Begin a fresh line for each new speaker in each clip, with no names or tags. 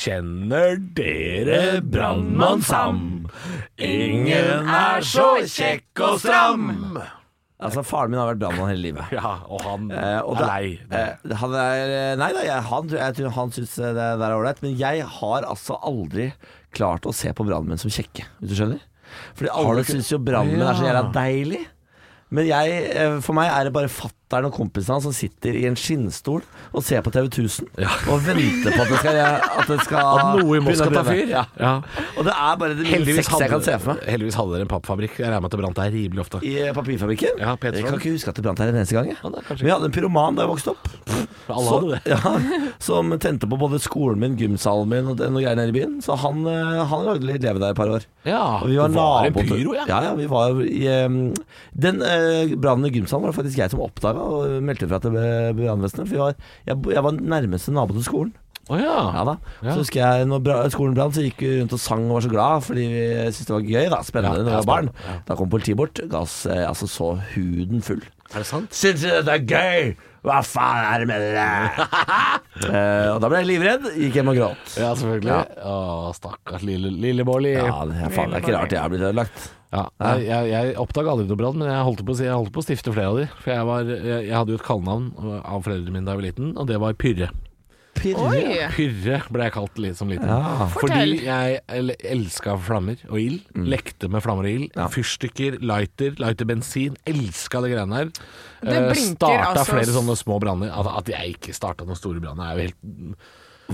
Kjenner dere brannmann Sam? Ingen er så kjekk og stram!
Altså, faren min har vært brannmann hele livet.
Ja, og han
Eh, og
er
da-
lei.
eh, han er Nei da, jeg, han, tror- jeg tror han syns det der er ålreit. Men jeg har altså aldri klart å se på brannmenn som kjekke, hvis du skjønner. Fordi alle syns jo brannmenn er så jævla deilig. Men jeg, eh, for meg er det bare fattern og kompisene hans som sitter i en skinnstol og ser på TV 1000 og venter på at det skal, at det skal
At noe i Moss skal ta
begynne å brenne.
fyr.
Ja.
Ja.
Og det er bare det
Heldigvis,
minste jeg kan se for
hadde,
meg.
heldigvis hadde dere en pappfabrikk. Jeg regner med at det brant der rimelig ofte.
I eh, papirfabrikken?
Ja, Peterson.
jeg kan ikke huske at det brant her en eneste gang. Jeg.
Ja, det er kanskje
Vi hadde en pyroman da jeg vokste opp.
Alle
Så-
hadde det.
ja, som tente på både skolen min, gymsalen min og noe greier nede i byen. Så han, eh, han lagde litt leve der et par år.
Ja,
Og vi var,
det var en
nabo til-
pyro, ja.
Ja, ja, vi var i eh, Den eh, brannen i gymsalen var det faktisk jeg som oppdaga og meldte fra til eh, brannvesenet. For vi var, jeg, bo- jeg var nærmeste nabo til skolen.
Å ja.
Ja da.
Ja.
Så husker jeg når bra, skolen brant, så gikk vi rundt og sang og var så glad fordi vi syntes det var gøy. da Spennende
Ja,
når vi
ja,
var barn.
spennende, ja.
Da kom politiet bort, ga oss eh, altså så huden full.
Er det sant?
Syns du dette er gøy? Hva faen er det med dere? Eh, og da ble jeg livredd, gikk hjem og gråt.
Ja, selvfølgelig.
Ja.
Å, stakkars lille, lille Bårli.
Ja, det er faen det er ikke rart jeg er blitt ødelagt.
Ja, jeg, jeg, jeg oppdaga aldri noe brann, men jeg holdt, på, å si- jeg holdt på å stifte flere av de. For jeg, var, jeg, jeg hadde jo et kallenavn av foreldrene mine da jeg var liten, og det var Pyrre.
Oi!
Pyrre ble jeg kalt litt som liten.
Ja.
Fortell.
Fordi jeg el- elska flammer og ild.
Mm.
Lekte med flammer og ild. Fyrstikker, lighter, lighterbensin. Elska de greiene der.
Det
Eh,
blinker
starta
altså-
flere sånne små branner. At, at jeg ikke starta noen store branner, er jo helt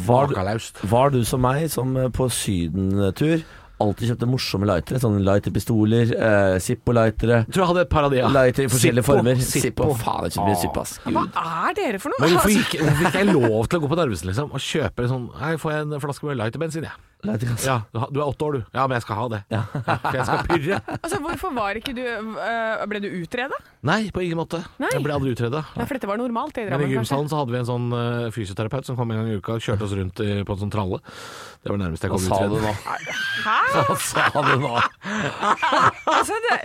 Var,
makalaust.
var du som meg, som eh, på sydentur alltid kjøpte morsomme lightere? Sånne lighterpistoler, eh, Zippo-lightere.
Jeg tror jeg hadde et par av de, ja.
Lighter i forskjellige
Zippo,
former.
Zippo.
Zippo. Faen, det blir Zippo, ass. Gud.
Hva er dere for noe?
Men hvorfor
Altså,
gikk, hvorfor fikk jeg lov til å gå på Narvesen liksom, og kjøpe en sånn Hei, får jeg en flaske med lighterbensin, jeg.
Lighter, ass.
Ja, du har- du er åtte år, du. Ja, men jeg skal ha det. Ja, for jeg skal pyrre.
altså, hvorfor var ikke du øh, Ble du utreda?
Nei, på ingen måte.
Nei.
Jeg ble aldri utreda.
Nei, for dette var normalt i
Men i
Drammen, kanskje?
gymsalen så hadde vi en sånn eh, fysioterapeut som kom en gang i uka og kjørte oss rundt i, på en sånn tralle. Det var nærmest jeg
Hva
kom
sa du
utreda.
nå?
Hæ?
Hva sa du nå?
Altså, det,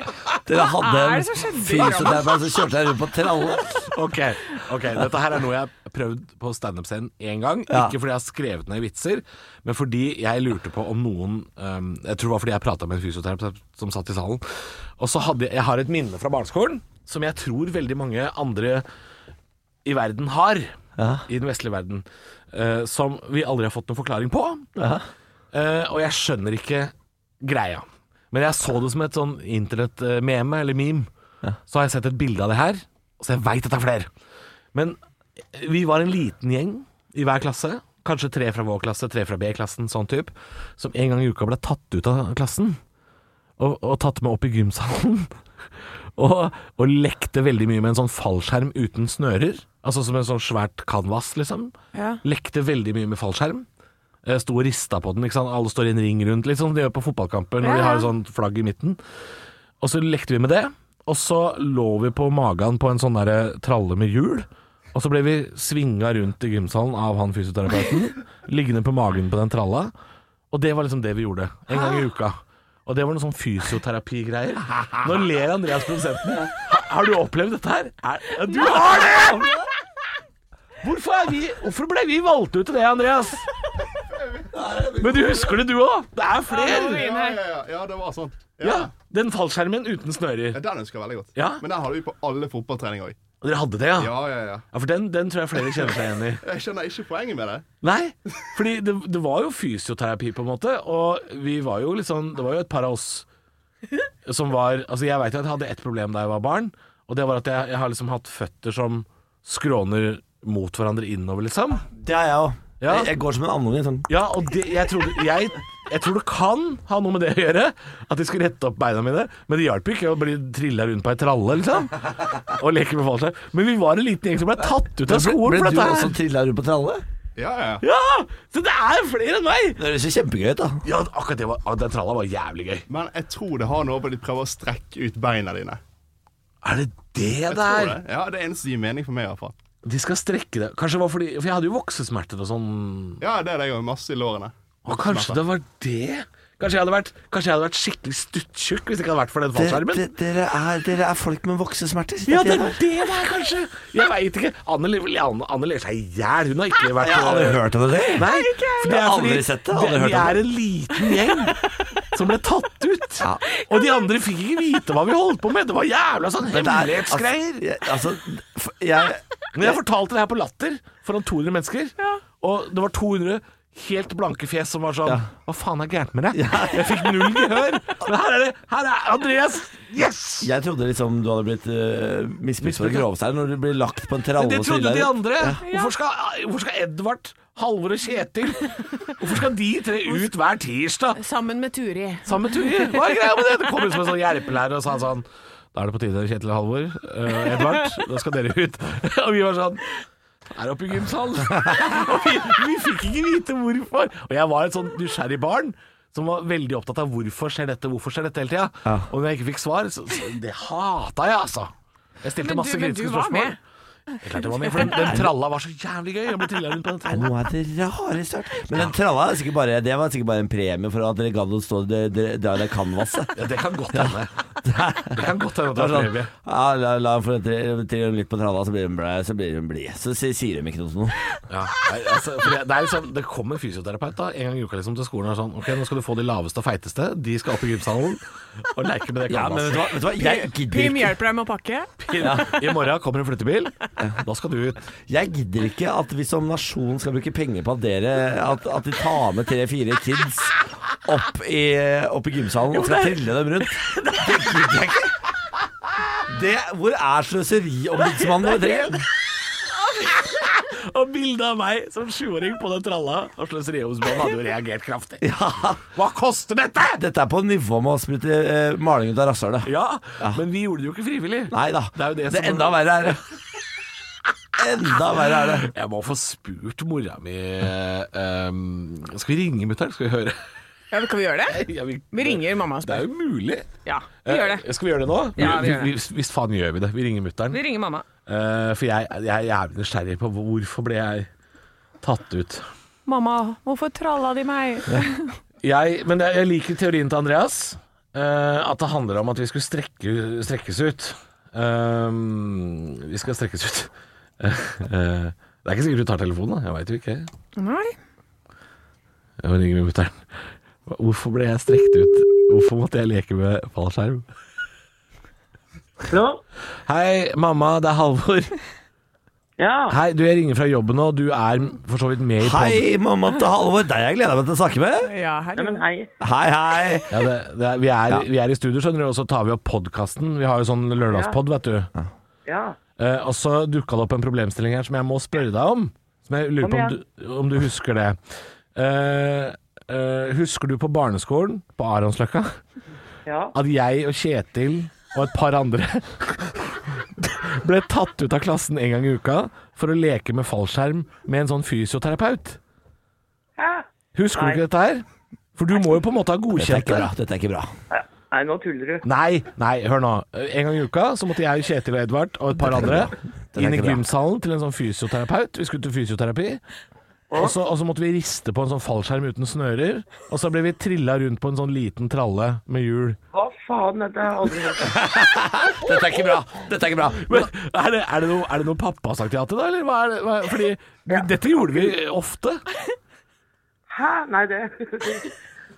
Dere hadde
er
en
det som skjedde i
fysioterapeut som kjørte deg rundt på tralle.
Ok, ok, dette her er noe jeg har prøvd på standup-scenen én gang.
Ja.
Ikke fordi jeg har skrevet ned vitser, men fordi jeg lurte på om noen um, Jeg tror det var fordi jeg prata med en fysioterapeut som satt i salen. Og så hadde jeg Jeg har et minne fra barneskolen som jeg tror veldig mange andre i verden har.
Ja.
I den vestlige verden. eh, som vi aldri har fått noen forklaring på.
Ja.
Eh, og jeg skjønner ikke greia. Men jeg så det som et sånn internett-meme eller meme. Så har jeg sett et bilde av det her, så jeg veit at det er flere. Men eh, vi var en liten gjeng i hver klasse. Kanskje tre fra vår klasse, tre fra B-klassen, sånn type. Som en gang i uka ble tatt ut av klassen. Og, og tatt med opp i gymsalen. og, og lekte veldig mye med en sånn fallskjerm uten snører. Altså som en sånn svært canvas, liksom.
Ja.
Lekte veldig mye med fallskjerm. Eh, Sto og rista på den. ikke sant? Alle står i en ring rundt, litt sånn de gjør på fotballkamper når
Ja,
de
ja.
har sånn flagg i midten. Og så lekte vi med det. Og så lå vi på magen på en sånn derre tralle med hjul. Og så ble vi svinga rundt i gymsalen av han fysioterapeuten. liggende på magen på den tralla. Og det var liksom det vi gjorde. En gang i
Ah.
uka. Og det var noe sånn fysioterapigreier. Nå ler Andreas produsenten. Ha- Har du opplevd dette her? Er, ja, du har det! Hvorfor, er vi, hvorfor ble vi valgt ut til det, Andreas? Men du husker det, du òg? Det er flere!
Ja,
Ja, ja, ja, ja, det var sånn. Ja.
Ja, Den fallskjermen uten snører.
Ja, Den husker jeg veldig godt.
Ja.
Men den hadde vi på alle fotballtreninger òg.
Dere hadde det, ja?
Ja, ja, ja.
Ja, For den, den tror jeg flere kjenner seg igjen i.
Jeg skjønner ikke poenget med det.
Nei, fordi det, det var jo fysioterapi på en måte, og vi var jo litt sånn Det var jo et par av oss som var Altså, jeg veit jo at jeg hadde ett problem da jeg var barn, og det var at jeg, jeg har liksom hatt føtter som skråner mot hverandre innover, liksom.
Det er jeg òg.
Ja.
Jeg- Jeg går som en andungen. Sånn.
Ja, og det, jeg, trodde, jeg, jeg tror det kan ha noe med det å gjøre, at de skulle rette opp beina mine. Men det hjalp jo ikke å bli trilla rundt på ei tralle, liksom. Og leke med fallskjerm. Men vi var en liten gjeng som ble tatt ut av skolen
Ble
for
du
dette
også
her.
trilla rundt på tralle?
Ja, ja, ja.
Ja! Så det er flere enn meg!
Det høres jo kjempegøy ut, da.
Ja, akkurat det var, ah, den tralla var jævlig gøy.
Men jeg tror det har noe med at de prøver å strekke ut beina dine.
Er det det
Jeg tror det. Ja, Det er eneste som gir mening for meg, i hvert fall.
De skal strekke det. Kanskje det var fordi For jeg hadde jo voksesmerter og sånn.
Ja, det er det jeg har masse i lårene.
Og kanskje det var det? Kanskje jeg hadde vært, kanskje jeg hadde vært skikkelig stuttjukk hvis det ikke hadde vært for den
Dere,
fallskjermen.
dere, dere, er, dere er folk med voksesmerter.
Ja, det
Dette
er
er-
det det er, kanskje. Jeg veit ikke. Anne, Anne, Anne ler seg i hjel. Hun har ikke vært
Jeg har aldri hørt om det.
Nei, for det er
Jeg har
fordi
aldri sett det, aldri hørt om
Vi er en liten gjeng som ble tatt ut.
Ja.
Og de andre fikk ikke vite hva vi holdt på med. Det var jævla sånn
Men det er-
hemmelighetsgreier.
Altså, for- jeg
Men jeg fortalte det her på Latter foran 200 mennesker, og det var 200 helt blanke fjes som var sånn
Ja.
Hva faen er gærent med deg? Jeg fikk null gehør. Men her er det. Her er Andreas. Yes!
Jeg trodde liksom du hadde blitt eh, misbrukt for
Misbrukt,
det
ja.
groveste her, når du blir lagt på en tralle.
Men det
og
trodde de
trillet.
andre. Hvorfor skal, hvorfor skal Edvard, Halvor og Kjetil Hvorfor skal de tre ut hver tirsdag
Sammen med Turi.
sammen med Turi? Hva er greia med det? Det kom ut som en sånn hjelpelærer og sa sånn Da er det på tide, Kjetil og Halvor. eh, Edvard, da skal dere ut. Og vi var sånn er oppe i gymsalen. Og vi, vi fikk ikke vite hvorfor. Og jeg var et sånn nysgjerrig barn som var veldig opptatt av hvorfor skjer dette, hvorfor skjer dette hele tida.
Ja.
Og når jeg ikke fikk svar, så, så det hata jeg, altså. Jeg stilte
Men du-
masse
men
kritiske
du var
spørsmål.
med.
Jeg klarte jeg var med, for den, den tralla var så jævlig gøy. Jeg ble trilla rundt på den
Det er
tralla.
noe av det rareste jeg har hørt. Men den tralla er sikkert bare, det var sikkert bare en premie for at dere gadd å stå der dere- der det kanvaset.
Ja, det kan godt hende. Det kan godt hende at det var
Sånn,
trivelig.
ja, la, la ham få tre- tre litt på tralla, så blir hun blid. Så, blir hun blid. så si- sier de ikke noe sånt.
Ja, nei, altså, for det, det, er liksom, det kom en fysioterapeut da, en gang i uka liksom, til skolen og er sånn Ok, nå skal du få de laveste og feiteste. De skal opp i gymsalen og leke med det
Ja, men vet
kanvaset.
du hva, vet du hva? Jeg, gidder
Pim
ikke,
hjelper deg med å pakke.
I morgen kommer en flyttebil. Da skal du ut.
jeg gidder ikke at vi som nasjon skal bruke penger på at dere At, at de tar med tre-fire kids opp i, opp i gymsalen og skal trille dem rundt. Det gidder jeg ikke. Det, hvor er sløseriombudsmannen over tre?
Og bildet av meg som sjuåring på den tralla og sløseriombudsmannen hadde jo reagert kraftig. Hva koster dette?!
Dette er på nivå med å sprute eh, maling ut av rasshølet.
Ja, men vi gjorde det jo ikke frivillig.
Nei da.
Det er jo det som-
enda verre er det. Enda verre er det.
Jeg må få spurt mora mi eh, um, Skal vi ringe mutter'n? Skal vi høre?
Ja, men Kan vi gjøre det?
Ja,
Vi ringer mamma og
Det
spør.
er jo mulig.
Ja, vi gjør det.
Eh, Skal vi gjøre det nå?
Ja, vi gjør det.
Hvis- Hvis faen gjør vi det. Vi ringer mutter'n.
Vi ringer mamma.
Eh, for jeg, jeg er jævlig nysgjerrig på hvor- hvorfor ble jeg tatt ut.
Mamma, hvorfor tralla de meg?
Jeg, men jeg, jeg liker teorien til Andreas. eh, at det handler om at vi skulle strekke, strekkes ut. Ehm, vi skal strekkes ut. Eh, det er ikke sikkert du tar telefonen, da. Jeg veit jo ikke.
Nei.
Jeg må ringe mutter'n. Hvorfor ble jeg strekt ut? Hvorfor måtte jeg leke med fallskjerm?
Hallo?
Hei, mamma, det er Halvor.
Ja.
Hei, du, jeg ringer fra jobben nå. Du er for så vidt med i podden.
Hei, mamma til Halvor. Deg jeg gleder meg til å snakke med.
Ja,
ja, men
herregud.
hei.
Hei, hei.
Ja, det, det er, vi, er, vi er i studio, skjønner du, og så tar vi opp podkasten. Vi har jo sånn lørdagspod, vet du.
Ja.
Eh, og så dukka det opp en problemstilling her som jeg må spørre deg om. Som jeg lurer
Kom
på om
igjen.
du, om du husker det. Eh, eh, husker du på barneskolen på Aronsløkka
Ja.
at jeg og Kjetil og et par andre ble tatt ut av klassen en gang i uka for å leke med fallskjerm med en sånn fysioterapeut?
Hæ?
Husker
Nei.
du ikke dette her? For du må jo på en måte ha
Dette er
godkjent
ikke
det.
bra. Dette er ikke bra.
Nei, nå tuller du.
Nei, nei, hør nå. En gang i uka så måtte jeg, Kjetil og Edvard og et par andre
Det er
inn i
ikke bra.
gymsalen til en sånn fysioterapeut. Vi skulle til fysioterapi. Og så, og så måtte vi riste på en sånn fallskjerm uten snører. Og så ble vi trilla rundt på en sånn liten tralle med hjul.
Hva faen, dette har jeg aldri hørt.
Dette er ikke bra. Dette er ikke bra.
Men er det, er det, noe, er det noe pappa har sagt ja til, da? Eller hva er det? Hva, fordi dette gjorde vi ofte.
Hæ? Nei, det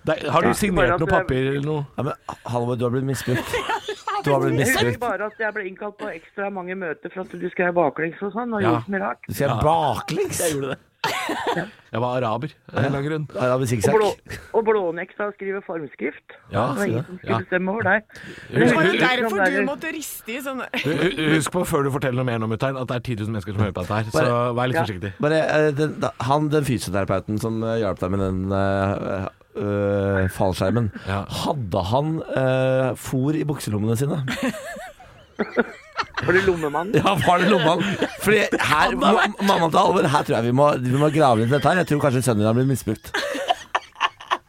Nei,
Det, har du
Bare
signert
at
noe
det-
papir eller noe?
Ja, men Halvor, du har blitt misbrukt. Du har blitt
Jeg husker
misbrukt.
bare at jeg ble innkalt på ekstra mange møter for at du skrev baklengs og sånn, og
Ja.
gjorde så mye rart.
Du skal baklengs. Jeg gjorde det.
Jeg var araber av en eller annen grunn.
Arabisk
Og, blå,
sikksakk.
og blånekta å skrive formskrift.
Ja,
det var ingen som
ja.
skulle bestemme over deg. Men
Det var jo
jeg husker
derfor
sånn
du
der-
måtte riste i sånne
Hu- hu- Husk på før du forteller noe mer nå, mutter'n, at det er 10 000 mennesker som hører på dette her. Så
Bare-
vær litt
Ja.
forsiktig.
Bare eh, den, da- han, den fysioterapeuten som eh, hjalp deg med den eh, eh, fallskjermen,
Ja.
hadde han uh, fôr i bukselommene sine?
Var du lommemann?
Ja, var det lommen? Fordi her, ma mamma til Halvor, her tror jeg vi må, vi må grave litt i dette her. Jeg tror kanskje sønnen din har blitt misbrukt.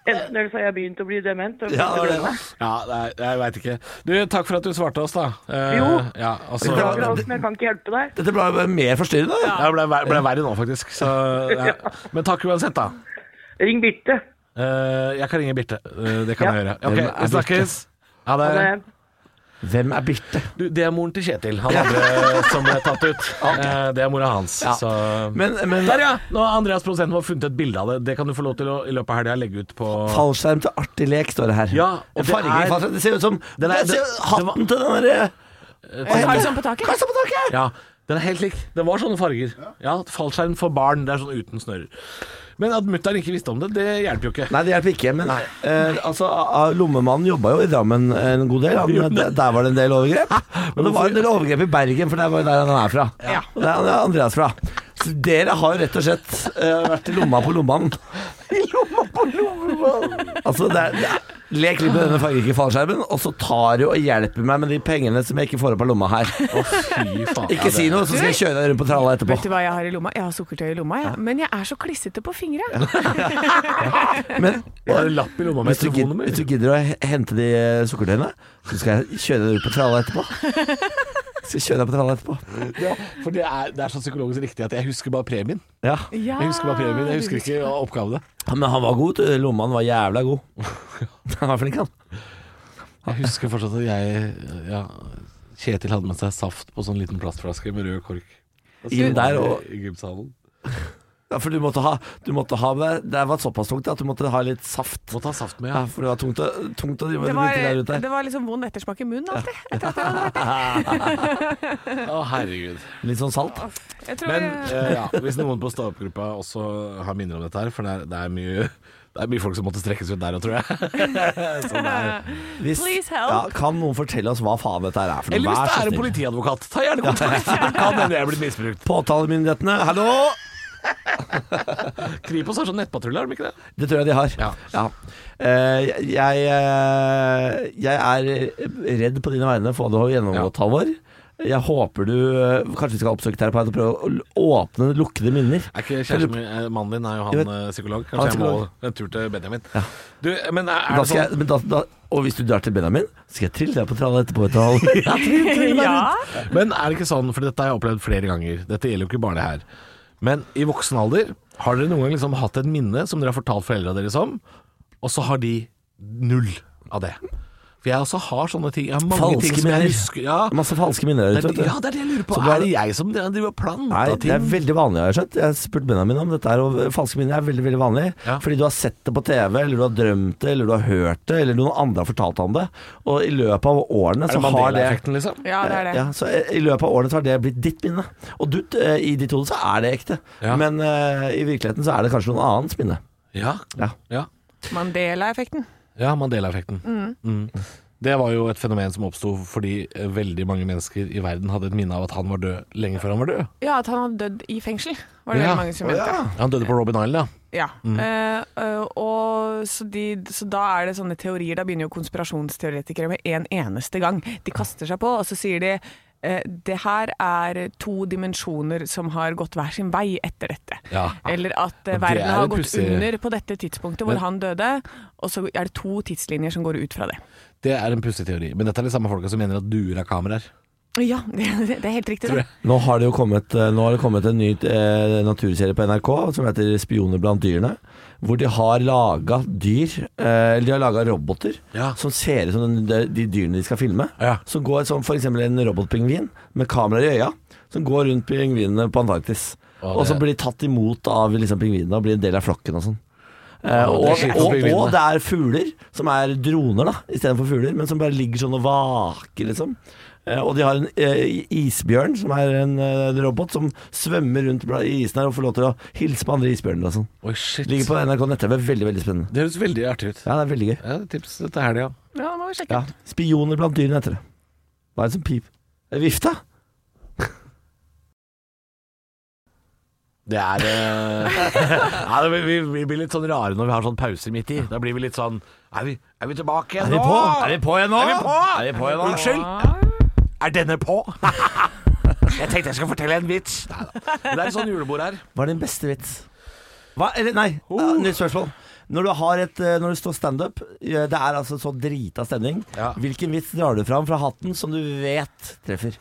Enten eller så har jeg begynt å bli dement. Og
Ja, det var det.
Ja, nei, jeg veit ikke. Du, takk for at du svarte oss, da. Eh,
Jo.
Ja, altså,
Det var-
Beklager, Halsen, jeg kan ikke hjelpe deg.
Dette ble bare mer forstyrrende.
det ble, ver- ble verre nå, faktisk. Så, ja. Men takk uansett, da.
Ring Birte.
Eh, jeg kan ringe Birte. Eh, det kan
Ja.
jeg gjøre.
Hvem
Ok,
er
vi snakkes. Ha det.
Ha det.
Hvem er Birte?
Du, det er moren til Kjetil, han andre som ble tatt ut. Eh, Det er mora hans.
Ja.
Så.
Men, men
Der, ja! Nå har Andreas produsenten vår funnet et bilde av det. Det kan du få lov til å i løpet av helga legge ut på
Fallskjerm til artig lek, står det her.
Ja, og
og
det
fargen, i
er-
fallskjerm, det ser ut som
Den er-
det ser,
det- Eh,
Hatten til den eh, derre
Karlsson på taket?
Karlsson på taket!
Ja, den er helt lik. Den var sånne farger. Ja, Fallskjerm for barn. Det er sånn uten snører. Men at mutter'n ikke visste om det, det hjelper jo ikke.
Nei, det hjelper ikke, men eh, altså, a- a- lommemannen jobba jo i Drammen en god del. Han, der, der var det en del overgrep. Og det var en del overgrep i Bergen, for der var jo der han er fra.
Ja.
Og der han er Andreas fra. Så dere har jo rett og slett eh, vært i lomma på lommemannen. I lomma på lommemannen! Altså, det er, det er Lek litt med denne fargerike fallskjermen, og så tar du og hjelper meg med de pengene som jeg ikke får opp av lomma her.
Å, fy faen.
Ikke si noe, så skal jeg kjøre deg rundt på tralla etterpå.
Vet du hva jeg har i lomma? Jeg har sukkertøy i lomma, jeg. men jeg er så klissete på fingra.
Men
Jeg har en lapp i lomma med
hvis du, gid-
telefonnummer.
hvis du gidder å he- hente de eh, sukkertøyene, så skal jeg kjøre deg rundt på tralla etterpå. Skal jeg kjøre deg på tralla etterpå.
Ja, for det er, det er så psykologisk riktig at jeg husker bare premien.
Ja.
Ja,
Jeg husker bare premien, jeg husker ikke oppgavene.
Men han var god, vet du. Lommaen var jævla god. Han var flink, han.
Jeg husker fortsatt at jeg ja, Kjetil hadde med seg saft på sånn liten plastflaske med rød kork.
Inn der og
I gymsalen.
ja, For du måtte ha, du måtte ha med Det var såpass tungt at du måtte ha litt saft.
Må ta saft med, ja.
Ja, for det var tungt å, tungt å drive
Det
med
var,
det der ute.
det var liksom vond ettersmak i munnen alltid.
Å, herregud.
Litt sånn salt.
Jeg tror
Men
jeg-
eh, ja, hvis noen på stå-opp-gruppa også har minner om dette her, for det er, det er mye det er mye folk som måtte strekkes ut der òg, tror jeg. Sånn er.
Hvis-
Please help.
Ja, kan noen fortelle oss hva faen dette her er for noe?
Eller hvis
Vær
det
så
er en
snill.
politiadvokat, ta gjerne kontakt! Det kan hende jeg er blitt misbrukt.
Påtalemyndighetene, hallo!
Kripos har sånn nettpatrulje, har de ikke det?
Det tror jeg de har.
Ja.
Ja. Eh, jeg, eh, jeg er redd på dine vegne for hva du har gjennomgått, Halvor. Jeg håper du eh, Kanskje vi skal oppsøke terapeut og prøve å l- åpne lukkede minner.
Er ikke kjæresten min, eh, Mannen din er jo han
Jeg vet-
eh, psykolog.
Han
Kanskje
er
jeg må
psykolog.
en tur til Benjamin. Du, men er, er
Da
det
skal
sånn
jeg, men da, da, og hvis du drar til Benjamin, skal jeg trille deg på tralla etterpå. vet du, Halvor. Ja, trill, trill meg
ja.
ut.
Men er det ikke sånn, for dette har jeg opplevd flere ganger Dette gjelder jo ikke bare det her Men i voksen alder, har dere noen gang liksom hatt et minne Som dere har fortalt foreldrene deres om Og så har de null av det For jeg også har sånne ting Jeg har mange
Falske
ting som
minner.
jeg husker ja,
Masse falske minner der
det,
ute. vet du.
ja, det er det jeg lurer på
Så du har-
Er det jeg som driver og planta
Nei, det er
ting?
veldig vanlig, har jeg skjønt. Jeg har spurt Benjamin om dette, her, og falske minner er veldig veldig vanlig.
Ja.
Fordi du har sett det på TV, eller du har drømt det, eller du har hørt det, eller noen andre har fortalt om det. Og i løpet av årene
Er det
så har det
Mandela-effekten liksom?
ja, det er det.
ja, så eh, I løpet av årene så har det blitt ditt minne. Og du, eh, i ditt hode så er det ekte,
Ja.
men eh, i virkeligheten så er det kanskje noen annens minne.
Ja,
Ja.
ja
Mandela-effekten.
Ja, Mandela-effekten. Mm. Det var jo et fenomen som oppsto fordi eh, veldig mange mennesker i verden hadde et minne av at han var død lenge før han var død.
Ja, at han hadde dødd i fengsel, var det
Ja. Mm.
veldig mange som mente.
Han døde på Robin Island, ja.
Ja. Eh, eh, og så, de, så da er det sånne teorier. Da begynner jo konspirasjonsteoretikere med en eneste gang. De kaster seg på, og så sier de eh, det her er to dimensjoner som har gått hver sin vei etter dette.
Ja.
Eller at
Og
eh,
det er
verden har
jo
gått
pussig.
under på dette tidspunktet hvor
Men-
han døde, og så er det to tidslinjer som går ut fra det.
Det er en pussig teori. Men dette er de samme folka som mener at duer er kameraer.
Ja, det, det er helt riktig.
Tror
Det.
jeg.
Nå har det jo kommet, eh, nå har det kommet en ny eh, naturserie på NRK som heter 'Spioner blant dyrene'. Hvor de har laga dyr, eh, eller de har laga roboter
Ja.
som ser ut som den, de, de dyrene de skal filme.
Ja.
Som går som f.eks. en robotpingvin med kamera i øya, som går rundt pingvinene på Antarktis.
Å,
Og
det-
som blir tatt imot av liksom, pingvinene og blir en del av flokken og sånn.
Å,
Eh, og,
det er slitsomt,
og, og
pingvinene.
det er fugler, som er droner da istedenfor fugler, men som bare ligger sånn og vaker, liksom. Eh, Og de har en eh, isbjørn, som er en eh, robot, som svømmer rundt bla- i isen her og får lov til å hilse på andre isbjørner og sånn.
Oi, shit.
Ligger på NRK nett-TV. Veldig, veldig spennende.
Det høres veldig artig ut.
Ja, det er veldig gøy.
Ja, tips til helga.
Ja, det må vi sjekke.
Ja. Spioner blant dyrene heter det. Hva er det som pip? Det er Vifta?
Det er eh, ja, det, vi- vi, vi blir litt sånn rare når vi har sånn pauser midt i. Da blir vi litt sånn Er vi, er vi tilbake igjen
Er vi
nå?
på? Er vi på igjen nå?
Er vi på?
Er vi på igjen nå?
Unnskyld? Er denne på? Jeg tenkte jeg skulle fortelle en vits. Neida. Men det er et sånn julebord her.
Hva er din beste vits? Hva, eller, nei,
Uh.
ja, nytt spørsmål. Når du, har et, eh, når du står standup, eh, det er altså så drita stemning.
Ja.
Hvilken vits drar du fram fra hatten som du vet treffer?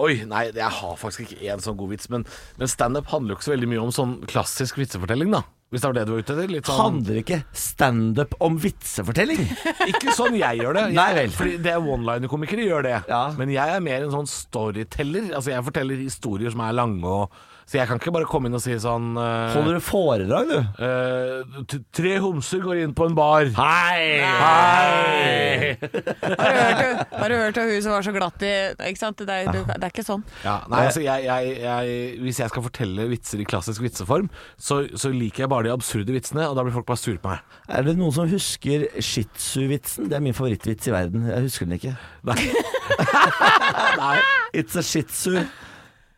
Oi, nei, jeg har faktisk ikke én sånn god vits, men, men standup handler jo ikke så veldig mye om sånn klassisk vitsefortelling, da. Hvis det var det du var ute etter? Litt sånn,
Handler ikke standup om vitsefortelling?
ikke sånn jeg gjør det. Jeg,
Nei vel.
Fordi det er one-liner-komikere gjør det.
Ja.
Men jeg er mer en sånn storyteller. Altså Jeg forteller historier som er lange. Og, så jeg kan ikke bare komme inn og si sånn eh,
Holder du foredrag, du?
eh, t- Tre homser går inn på en bar.
Hei!
Hei!
Har du hørt, har du hørt om hun som var så glatt i Ikke sant? Det er, du, det er ikke sånn.
Ja, nei, altså jeg, jeg, jeg, Hvis jeg skal fortelle vitser i klassisk vitseform, så, så liker jeg bare de absurde vitsene, og da blir folk bare sure på meg.
Er det noen som husker shih tzu-vitsen? Det er min favorittvits i verden. Jeg husker den ikke.
Nei,
It's a shih tzu.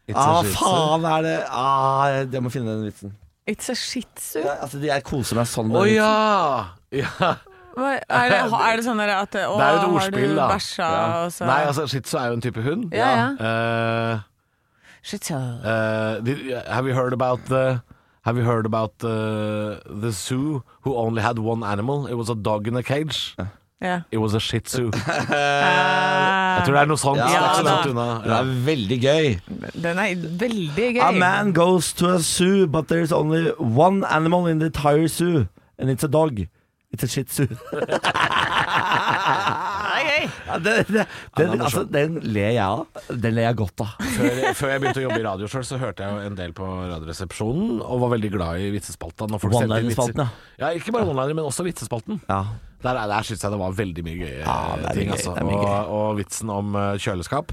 It's a
Ah,
shih tzu.
faen er det ah, jeg- Jeg må finne den vitsen.
It's a shih tzu.
Ja, altså, jeg koser meg sånn. med
Å
den
ja. ja!
Hva- Er det, er det sånn der at
Det
å,
er jo et
Har
ordspill,
du
da.
bæsja,
Ja.
og så
Nei, altså, shih tzu er jo en type hund.
Ja, ja.
Eh,
Shih tzu.
eh, did- have you heard about the Have you heard about uh, the zoo who only had one animal? It was a dog in a cage.
Ja.
It was a shih tzu. Jeg
Eh,
tror det er noe sånt.
Ja,
det er ikke så
da.
langt unna.
vitsen. Det er veldig gøy.
Den er veldig gøy.
A man goes to a zoo, but there's only one animal in the entire zoo, and it's a dog. It's a shih tzu. Ja, det- det-
er
den,
morsom.
altså, den ler jeg av. Den ler jeg godt av.
Før, før jeg begynte å jobbe i radio sjøl, så hørte jeg jo en del på Radioresepsjonen, og var veldig glad i vitsespalta. når folk sendte inn vitser.
One-liner-spalten, ja.
Ja, ikke bare one-liner, men også vitsespalten.
Ja.
Der, er- der syns jeg det var veldig mye gøye
Ja, det er
ting.
mye gøy,
altså.
det er mye
og, og vitsen om eh, kjøleskap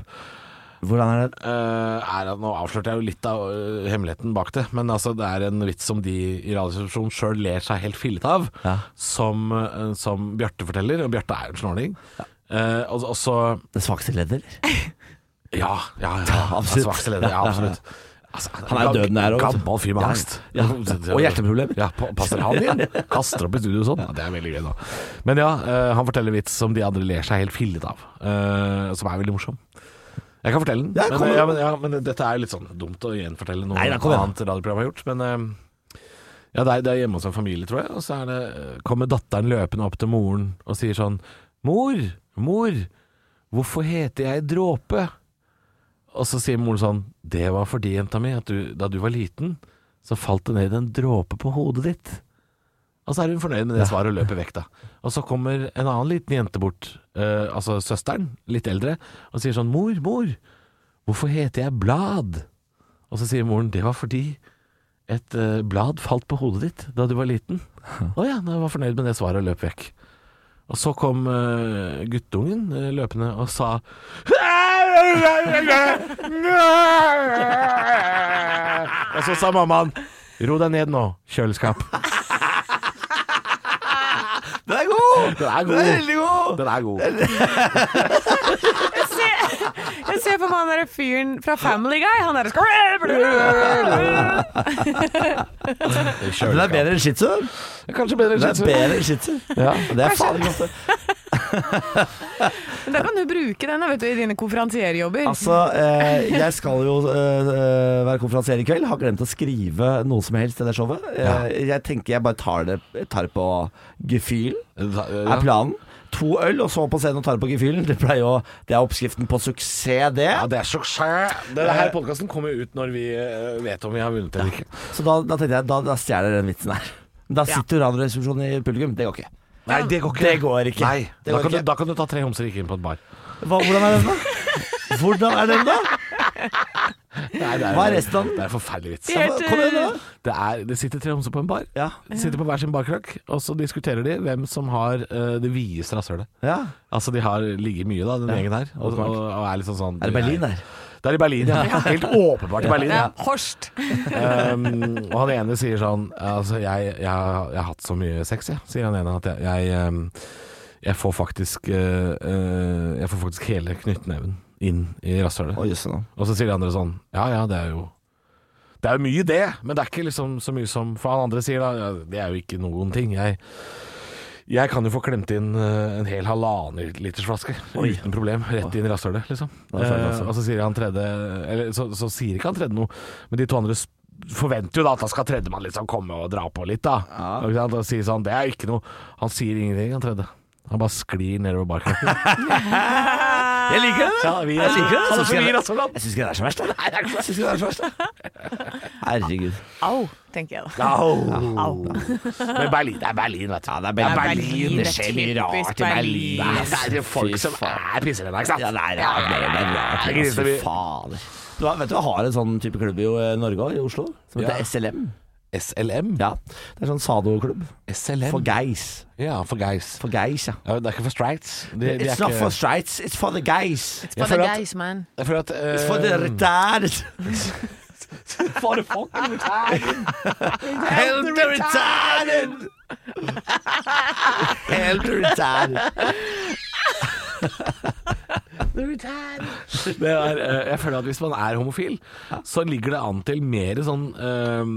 Hvordan er det?
eh, er at Nå avslørte jeg jo litt av eh, hemmeligheten bak det, men altså, det er en vits som de i Radioresepsjonen sjøl ler seg helt fillete av,
Ja.
som, eh, som Bjarte forteller. Og Bjarte er jo en snorning. Eh, og, og så
Det svakeste ledd, eller?
Ja, ja, ja.
absolutt.
Svakeste leder, ja,
Ja, ja, ja.
absolutt. Altså,
Han er jo døden her også, vet du.
Gammel fyr med
Ja, ja.
angst.
Ja, og hjerteproblemer.
Ja, pa- passer han igjen? Kaster opp i studio og sånn. Ja, det er veldig gøy, da. Men ja, eh, han forteller vits som de andre ler seg helt fillet av, eh, som er veldig morsom. Jeg kan fortelle den,
Ja, kom
men,
igjen.
ja, men, ja, men dette er jo litt sånn dumt å gjenfortelle noe
Nei, da, kom igjen.
annet radioprogram har gjort. Men eh, ja, det er, det er hjemme hos en familie, tror jeg. Og så er det, eh, kommer datteren løpende opp til moren og sier sånn Mor, mor, hvorfor heter jeg Dråpe? Og så sier moren sånn Det var fordi, jenta mi, at du, da du var liten, så falt det ned en dråpe på hodet ditt. Og så er hun fornøyd med det svaret og løper vekk, da. Og så kommer en annen liten jente bort, eh, altså søsteren, litt eldre, og sier sånn Mor, mor, hvorfor heter jeg Blad? Og så sier moren Det var fordi et eh, blad falt på hodet ditt da du var liten. Å ja, jeg var fornøyd med det svaret og løp vekk. Og så kom eh, guttungen eh, løpende og sa Og så sa mammaen Ro deg ned nå, kjøleskap.
Den er god!
Den er
Den er
god.
veldig god!
Den er god.
Jeg ser, jeg ser på meg han derre fyren fra Family Guy. Han derre skal-
Den er
Kjøleskap.
bedre enn shih tzu.
Kanskje bedre
Den
enn
er
shih tzu.
bedre enn shih tzu.
Ja.
Og Det er faen ikke ofte.
Men Da kan du bruke den da, vet du, i dine konferansierjobber.
Altså, eh, jeg skal jo eh, eh, være konferansier i kveld. Har glemt å skrive noe som helst til det showet. Eh, Jeg tenker jeg bare tar det, jeg tar det på gefühl,
Da-
er
Ja.
planen. To øl, og så på scenen og tar det på gefühlen. Det, pleier jo- det er oppskriften på suksess, det.
Ja, det er suksess. Denne her podkasten kommer jo ut når vi eh, vet om vi har vunnet eller ikke.
Så da, da tenkte jeg, da, da stjeler jeg den vitsen her. Da sitter jo Radioresepsjonen i publikum. Det går ikke.
Nei, det går ikke.
Det går ikke.
Nei,
Det
da,
går
kan
ikke.
Du, da kan du ta tre homser ikke inn på et bar.
Hva, hvordan er den, da? Hvordan er den, da?
Nei, det
Hva er resten av den?
Det er en forferdelig vits.
Det er-
Kom igjen, da.
Det, er, det sitter tre homser på en bar.
Ja.
De sitter på hver sin barkrakk, og så diskuterer de hvem som har eh, det videste rasshølet.
ja.
Altså, de har ligget mye, da, den gjengen her. Og, og, og er liksom sånn
Er det Berlin der?
Det er i Berlin, ja. Helt åpenbart i Berlin.
ja,
Ja.
Horst.
Um, og han ene sier sånn Altså, jeg, jeg, jeg har hatt så mye sex, jeg, sier han ene, at jeg Jeg, um, jeg får faktisk eh, eh, Jeg får faktisk hele knyttneven inn i rasshølet.
Å, jøsse navn.
Og så sier de andre sånn Ja ja, det er jo Det er jo mye det, men det er ikke liksom så mye som For han andre sier da ja, Det er jo ikke noen ting Jeg, jeg kan jo få klemt inn eh, en hel halvannen liters flaske Uten problem, rett inn i rasshølet liksom
er altså. det
eh, Og så sier han tredje Eller så, så sier ikke han tredje noe Men de to andre sp- forventer jo da at da skal tredjemann liksom komme og dra på litt da Ikke sant? Og sier sånn, det er ikke noe Han sier ingenting, han tredje Han bare sklir nedover barkrakken
Jeg liker det!
Ja, vi er-
jeg liker det.
Han er så
Jeg
gira,
syns
så glad.
ikke- jeg syns ikke det er så verst. da. Jeg syns ikke det er så verst. da. Herregud.
Au, tenker jeg da.
Au. Men Berlin, det er Berlin, vet du.
Ja, det er
Det er
Berlin.
Berlin, det skjer mye
Typisk
rart i Berlin.
Berlin.
Det er det folk som er pisseredda, ikke sant?
Ja, det er rart. Det er rart.
Det er
altså,
griseby.
fader. Du har, vet du, jeg har en sånn type klubb i eh, Norge òg, i Oslo, som heter
Ja.
SLM.
SLM?
Ja, Det er sånn sadoklubb.
SLM?
For guys.
Ja, for guys.
For guys, ja.
Ja, det er ikke for straights. De, de er
It's not
ikke-
for straights, it's for the guys.
Jeg føler at-
guys, man.
Jeg føler at
It's for the
eh,
retarded.
For the fucking retarded.
Help the retarded! Help the retarded.
Det er, eh, jeg føler at hvis man er homofil, så ligger det an til mer sånn eh,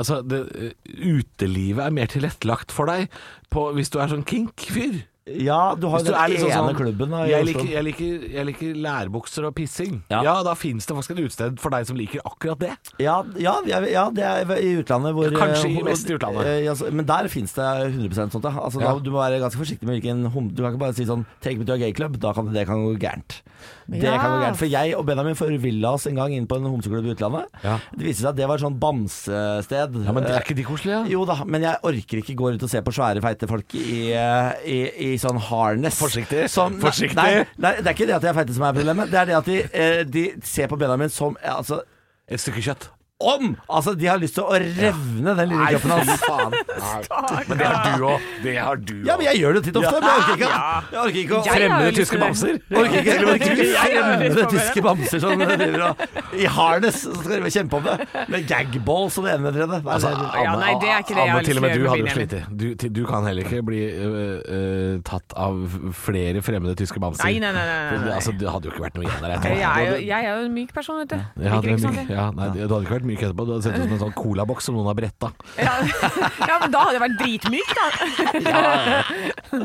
Altså, det, eh, utelivet er mer tilrettelagt for deg på, hvis du er sånn kink-fyr.
Ja, du har
Hvis
jo
du er
den
litt sånn
ene
sånn
klubben da, i
jeg,
Oslo.
liker, jeg, liker, jeg liker lærbukser og pissing. Ja,
Ja.
da fins det faktisk et utsted for deg som liker akkurat det.
Ja, ja, ja, ja, det er i utlandet hvor
Ja, kanskje
eh,
i mest i utlandet.
eh, ja, så- men der finnes det 100 sånt. Da. Altså,
Ja.
da, du må være ganske forsiktig med hvilken hom Du kan ikke bare si sånn Take me to a gay club. Da kan det, det kan gå gærent. Det
Ja.
kan gå gærent. For jeg og Benjamin forvilla oss en gang inn på en homseklubb i utlandet.
Ja.
Det viste seg at det var et sånn bamsested.
Ja, Men det
Eh,
er ikke de koselige?
Jo da, men jeg orker ikke gå rundt og se på svære, feite folk i, eh, i, i sånn harness.
Forsiktig.
Som, nei,
Forsiktig.
Nei, nei, det er ikke det at jeg er feite som er problemet. Det er det at de, eh, de ser på Benjamin som eh, altså,
Et stykke kjøtt.
om! Altså, de har lyst til å revne den lille kroppen hans.
fy faen. Nei. Men det har du òg. Det har du
Ja, men jeg gjør det titt og ofte, men jeg orker ikke, jeg orker ikke å
Jeg har
Fremmede
jo lyst
tyske
til det.
bamser?
Orker ikke å
Jeg gjør det
fremmede
litt for meg,
tyske bamser som driver og I harness så skal de kjempe om det. Med gagballs og det ene med det tredje. Hva er det?
Ja, nei, det er ikke
Altså,
det jeg
Anne,
har lyst
til
til
og
å
med du
gjøre
hadde
med
jo slitt. i. Du, til- du kan heller ikke bli øh, øh, tatt av flere fremmede tyske bamser.
Nei, nei, nei, nei, nei, nei.
Altså, det hadde jo ikke vært noe igjen der. Jeg tror.
Jeg er, jo, jeg er jo en myk person, vet du.
Ja,
Liker
det,
ikke sånn.
er
sånt,
mye-
jeg.
ja, nei, det hadde ikke vært myk etterpå. Du hadde sett ut som en sånn colaboks som noen har bretta.
Ja. ja, men da hadde jeg vært dritmyk, da.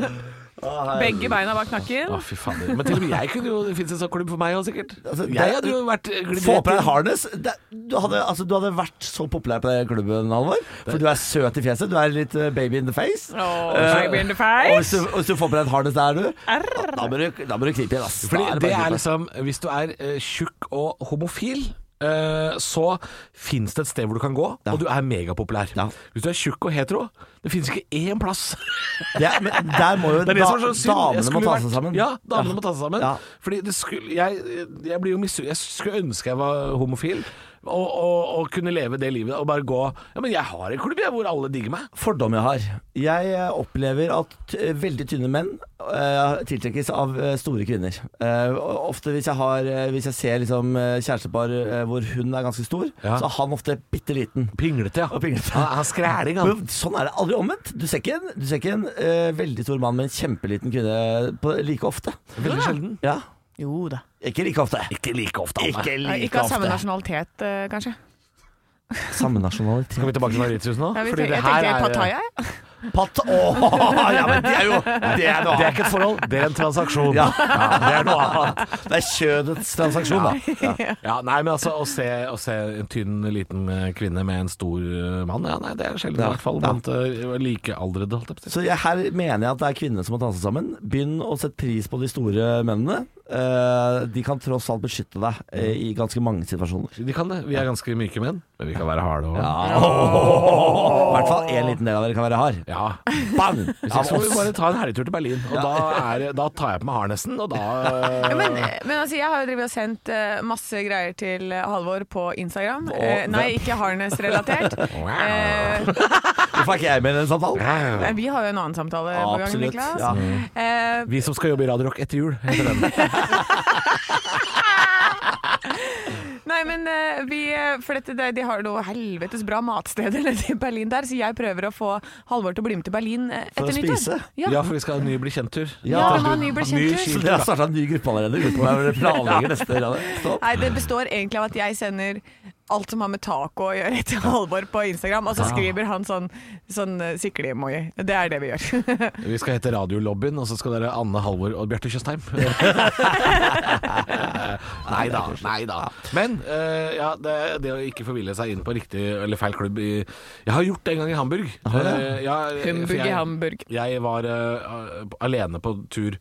Begge beina bak nakken.
Å, fy fader. Men til og med jeg kunne jo Det fins en sånn klubb for meg òg, sikkert.
Altså, det-
jeg hadde jo vært glidd
Få
rett
på deg
inn.
harness. Det, du, hadde, altså, du hadde vært så populær på den klubben, Halvor. For du er søt i fjeset. Du er litt eh, baby in the face.
Åh,
Eh,
baby in the
Og hvis
face.
du, hvis du får på deg et harness der, du, da må du, da må du knipe igjen. ass. Da
Fordi
er
det
bare å
er
knipe.
liksom Hvis du er eh, tjukk og homofil eh, så fins det et sted hvor du kan gå, og du er megapopulær.
Ja.
Hvis du er tjukk og hetero, det fins ikke én plass.
det er, men der må jo
Det er det som er så synd.
da,
Jeg
damene må
skulle
ta
vært-
seg sammen.
Ja, damene må ta seg sammen.
Ja.
Fordi det skulle, jeg, jeg blir jo misunn- Jeg skulle ønske jeg var homofil, og, og, og kunne leve det livet og bare gå Ja, men jeg har en klubb jeg, hvor alle digger meg.
Fordom jeg har. Jeg eh, opplever at eh, veldig tynne menn eh, tiltrekkes av eh, store kvinner. Eh, og ofte hvis jeg, har, eh, hvis jeg ser liksom, eh, kjærestepar eh, hvor hun er ganske stor,
Ja.
så er han ofte bitte liten.
Pinglete, ja.
Og pinglete.
Han han er skræling, han.
Men sånn er det aldri omvendt. Du ser ikke en, du ser ikke en eh, veldig stor mann med en kjempeliten kvinne på, like ofte.
Veldig sjelden.
Ja,
Jo da.
Ikke like ofte.
Ikke like ofte, Anne.
Ikke like
Ikke av samme
ofte.
nasjonalitet, eh, kanskje.
Samme nasjonalitet.
Skal vi tilbake til Mauritius nå?
Jeg, vet,
Fordi
ikke,
det
jeg
her
tenker
er-
Pattaya. jeg.
Patt... Åh, ja, men det er jo Det er noe
Det er
annet.
ikke et forhold, det er en transaksjon.
Ja.
det er noe annet.
Det er kjødets transaksjon, da.
Ja, nei, men altså, å se, å se en tynn, liten eh, kvinne med en stor eh, mann, ja, nei, det er sjelden,
Ja.
i hvert fall
Ja.
blant eh, likealdrede, holdt jeg på å si.
Så jeg, her mener jeg at det er kvinnene som må ta seg sammen. Begynn å sette pris på de store mennene. Eh, de kan tross alt beskytte deg eh, i ganske mange situasjoner.
De kan det. Vi er ganske myke menn, men vi kan være harde òg.
I hvert fall en liten del av dere kan være hard.
Ja.
Bang!
Så
Av
skal vi
oss.
bare ta en helgetur til Berlin, og da, er, da tar jeg på meg harnessen, og da eh,
Ja, men, men altså, jeg har jo drevet og sendt eh, masse greier til eh, Halvor på Instagram. Eh, nei, ikke harness-relatert. Eh,
Hvorfor er ikke jeg med i den samtalen?
nei, vi har jo en annen samtale på gang,
Absolutt,
Niklas.
ja.
Eh,
Vi som skal jobbe i Radio Rock etter jul, heter den.
Nei, men eh, vi eh, For dette, det- de har noe helvetes bra matsteder nede i Berlin der, så jeg prøver å få Halvor til å bli med til Berlin eh,
For
etter
å
nyttår.
spise?
Ja.
Ja, for vi skal ha en ny bli kjent-tur.
Ja,
Ja,
vi må ha en ny
Så
bekjenttur.
dere har starta en ny gruppe allerede? Gruppe der dere planlegger neste stopp?
Nei, det består egentlig av at jeg sender alt som har med taco å gjøre til Halvor på Instagram, og så skriver han sånn, sånn eh, sikle-emoji. Det er det vi gjør.
Vi skal hete Radiolobbyen, og så skal dere Anne Halvor og Bjarte Tjøstheim. nei da, nei da. Men eh, ja, det, det å ikke forville seg inn på riktig eller feil klubb i Jeg har gjort det en gang i Hamburg. Eh, ja, for
Humbug i
jeg-
Hamburg.
Jeg var eh, alene på tur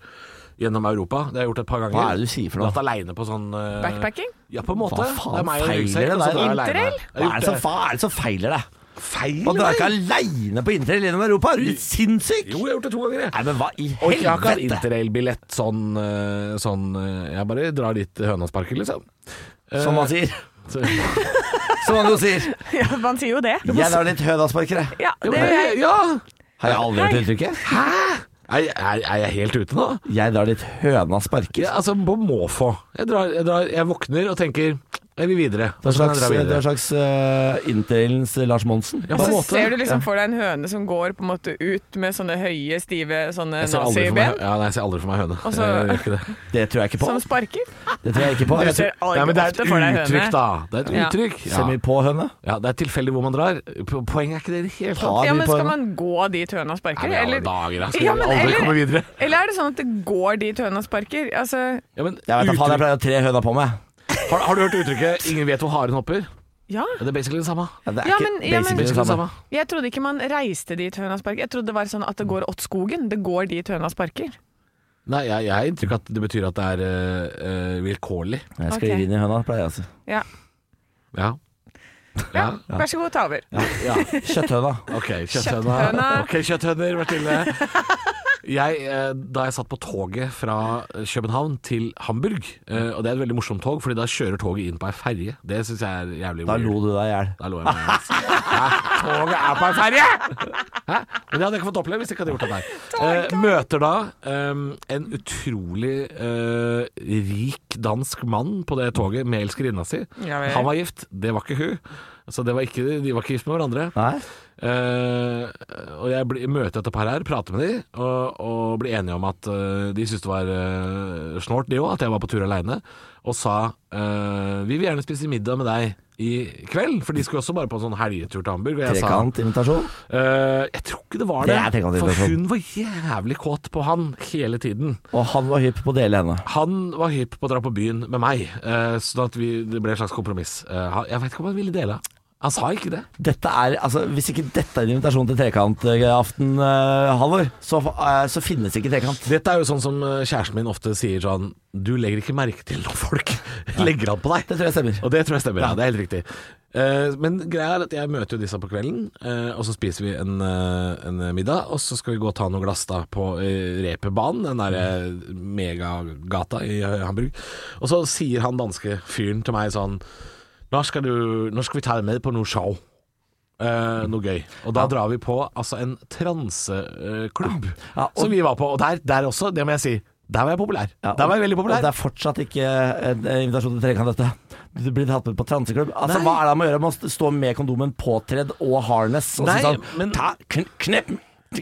gjennom Europa. Det har jeg gjort et par ganger.
Hva er det du sier for noe?
Vært aleine på sånn eh,
Backpacking?
Ja, på en måte.
Hva faen
det er meg og en
feiler
ryggsekk,
det
og så
der?
drar jeg alene.
Interrail?
Jeg har
Hva er det
gjort
som, fa er det som feiler deg?
Feil,
Man drar
eller?
ikke aleine på interrail gjennom Europa, er du sinnssyk?
Jo, jeg har gjort det to ganger, jeg.
Nei, men hva i
Og ikke jeg har ikke hatt
helvete?
interrailbillett sånn, eh, sånn eh, Jeg bare drar dit høna sparker, liksom. Eh,
Som man sier.
så-
Som man jo sier.
Ja, man sier jo det.
Jeg lar litt hønasparkere.
Ja,
Ja, det
men det- ja.
Har jeg aldri hørt uttrykket?
Er, er, er jeg helt ute nå?
Jeg drar litt hønasparker.
Ja, altså, på måfå. Jeg, drar, jeg, drar, jeg våkner og tenker Jeg vil videre.
Det
Og
er
så kan jeg
slags,
dra
det er
videre.
slags eh, interrailens Lars Monsen.
Ja,
Og
på en
så
måte.
ser du liksom for deg en høne som går på en måte ut med sånne høye, stive sånne
Jeg ser aldri for meg,
naziben.
ja, nei, jeg ser aldri for meg høne.
Og så-
Jeg gjør ikke det.
Det tror jeg ikke på.
Som sparker.
Det tror jeg ikke på.
Du ser aldri
Nei, men det er
ofte for deg
et uttrykk,
høne.
da. Det er et
Ja.
uttrykk.
Ser vi på høne?
Ja, det er tilfeldig hvor man drar. Po- Poenget er ikke det i det hele tatt.
Har
Ja,
vi
men
på
skal
høne?
man gå dit høna
Nei,
sparker?
men i alle
Eller,
dager, da. Skal
Ja,
vi
men
aldri
eller-
komme videre.
eller er det sånn at det går dit høna sparker? Altså,
Ja, men,
Jeg vet da faen, jeg
uttrykk-
pleier å ha tre høner på meg.
har, har du hørt uttrykket 'ingen vet hvor haren hopper'?
ja.
Ja, Det er basically det samme.
Ja, det er
Ja,
ikke
men- ja,
basically
men-
det samme.
Jeg trodde ikke man reiste dit høna sparker. Jeg trodde det var sånn at det går åt skogen. Det går dit høna sparker.
Nei, jeg, jeg har inntrykk av at det betyr at det er eh, eh, vilkårlig.
Jeg
Ok.
sklir inn i høna, pleier jeg altså.
Ja.
Ja. Ja.
Vær så god, ta over.
Kjøtthøna.
Ok, kjøtthøna.
Kjøtthøna.
Ok, kjøtthønner, Mathilde. Jeg, eh, da jeg satt på toget fra eh, København til Hamburg, eh, og det er et veldig morsomt tog, fordi da kjører toget inn på ei ferje. Det syns jeg er jævlig
Da
weird.
lo du deg i hjel.
Da lo jeg meg. altså. Hæ? Toget er på ei ferje! Hæ? Men det hadde jeg ikke fått oppleve hvis jeg ikke hadde gjort det der. Eh, møter da em, en utrolig eh, rik dansk mann på det toget med elskerinna si.
Ja vel.
Han var gift, det var ikke hun. Så det var ikke, de var ikke gift med hverandre.
Nei?
Eh, og jeg blir, møter et par her, prater med de og, og blir enige om at eh, de syntes det var eh, snålt, de òg, at jeg var på tur aleine. Og sa eh, vi vil gjerne spise middag med deg i kveld, for de skulle også bare på en sånn helgetur til Hamburg. Og jeg sa
Trekantinvitasjon.
eh, jeg tror ikke det var
Det
det,
er trekant
for
invitasjon.
hun var jævlig kåt på han hele tiden.
Og han var hypp på å dele henne.
Han var hypp på å dra på byen med meg, eh, sånn at vi, det ble et slags kompromiss. Eh, han- jeg veit ikke om han ville dele. Han sa ikke det.
Dette er, altså Hvis ikke dette er en invitasjon til trekantaften, uh, Halvor, så, eh, så finnes ikke trekant.
Dette er jo sånn som eh, kjæresten min ofte sier sånn Du legger ikke merke til når folk legger an på deg.
Det tror jeg stemmer.
Og det tror jeg stemmer, ja. Det er helt riktig. Eh, men greia er at jeg møter jo disse på kvelden, eh, og så spiser vi en, eh, en middag. Og så skal vi gå og ta noen glass da på eh, Reperbanen, den derre megagata i eh, Hamburg. Og så sier han danske fyren til meg sånn Nå skal, du, nå skal vi ta deg med på noe show. Eh, noe gøy. Og da drar vi på altså en transeklubb
Ja, og-
som vi var på. Og der, der også, det må jeg si, der var jeg populær.
Ja, og-
der var jeg veldig
Og det
populær.
er fortsatt ikke eh, en invitasjon til trekant, dette. Du blir tatt med på transeklubb. Altså,
Nei.
Hva er det med å gjøre? Man st- står med kondomen påtredd og harness og
Nei,
sier sånn
men-
ta, kn Knepp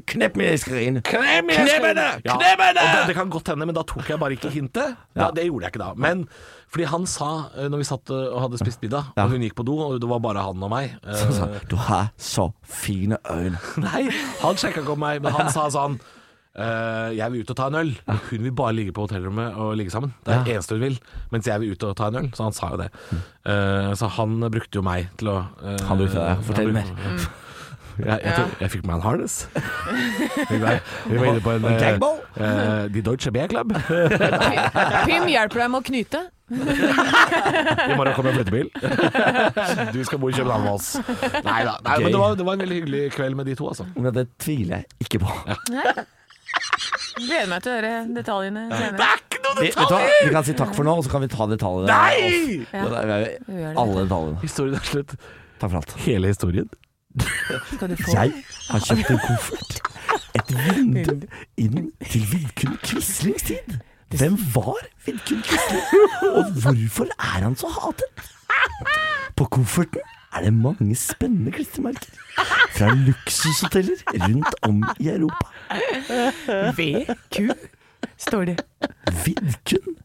knepp meg i skrin.
Kneb
Kneb henne! Kneb henne!
Og det, det kan godt hende, men da tok jeg bare ikke hintet. Da, det gjorde jeg ikke da. Men fordi han sa, eh, når vi satt eh, og hadde spist middag,
Ja.
og hun gikk på do, og det var bare han og meg eh,
Så sa han, Du har så fine øyne.
Nei, han sjekka ikke om meg, men han sa sånn eh, jeg vil ut og ta en øl. Men Hun vil bare ligge på hotellrommet og ligge sammen. Det er det eneste hun vil. Mens jeg vil ut og ta en øl. Så han sa jo det. Eh, så han brukte jo meg til å eh,
Mm. Han brukte deg. Fortell
han
mer.
brukte- Mm. Jeg, jeg, tror- jeg fikk meg en harness. Vi var, vi var inne på en
Og gagball?
eh, eh, De Deutsche Beer Club.
Pym hjelper deg med å knyte.
I morgen kommer jeg flyttebil. Du skal bo i København med oss. Nei da. Nei,
Gøy.
men det var, det var en veldig hyggelig kveld med de to, altså.
Men det tviler jeg ikke på.
Gleder meg til å høre detaljene senere.
er ikke noe
Vi, vet du hva? vi kan si takk for nå, og så kan vi ta detaljene.
Nei!
Ja, da er vi-
Vi gjør det.
Alle detaljene.
Historien er slutt.
Takk for alt.
Hele historien.
Skal du få
Jeg har kjøpt en koffert. Et vindu inn til Vidkun Quislings tid. Hvem var Vidkun Quisling, og hvorfor er han så hatet? På kofferten er det mange spennende klistremerker. Fra luksushoteller rundt om i Europa.
VQ, står det.
Vidkun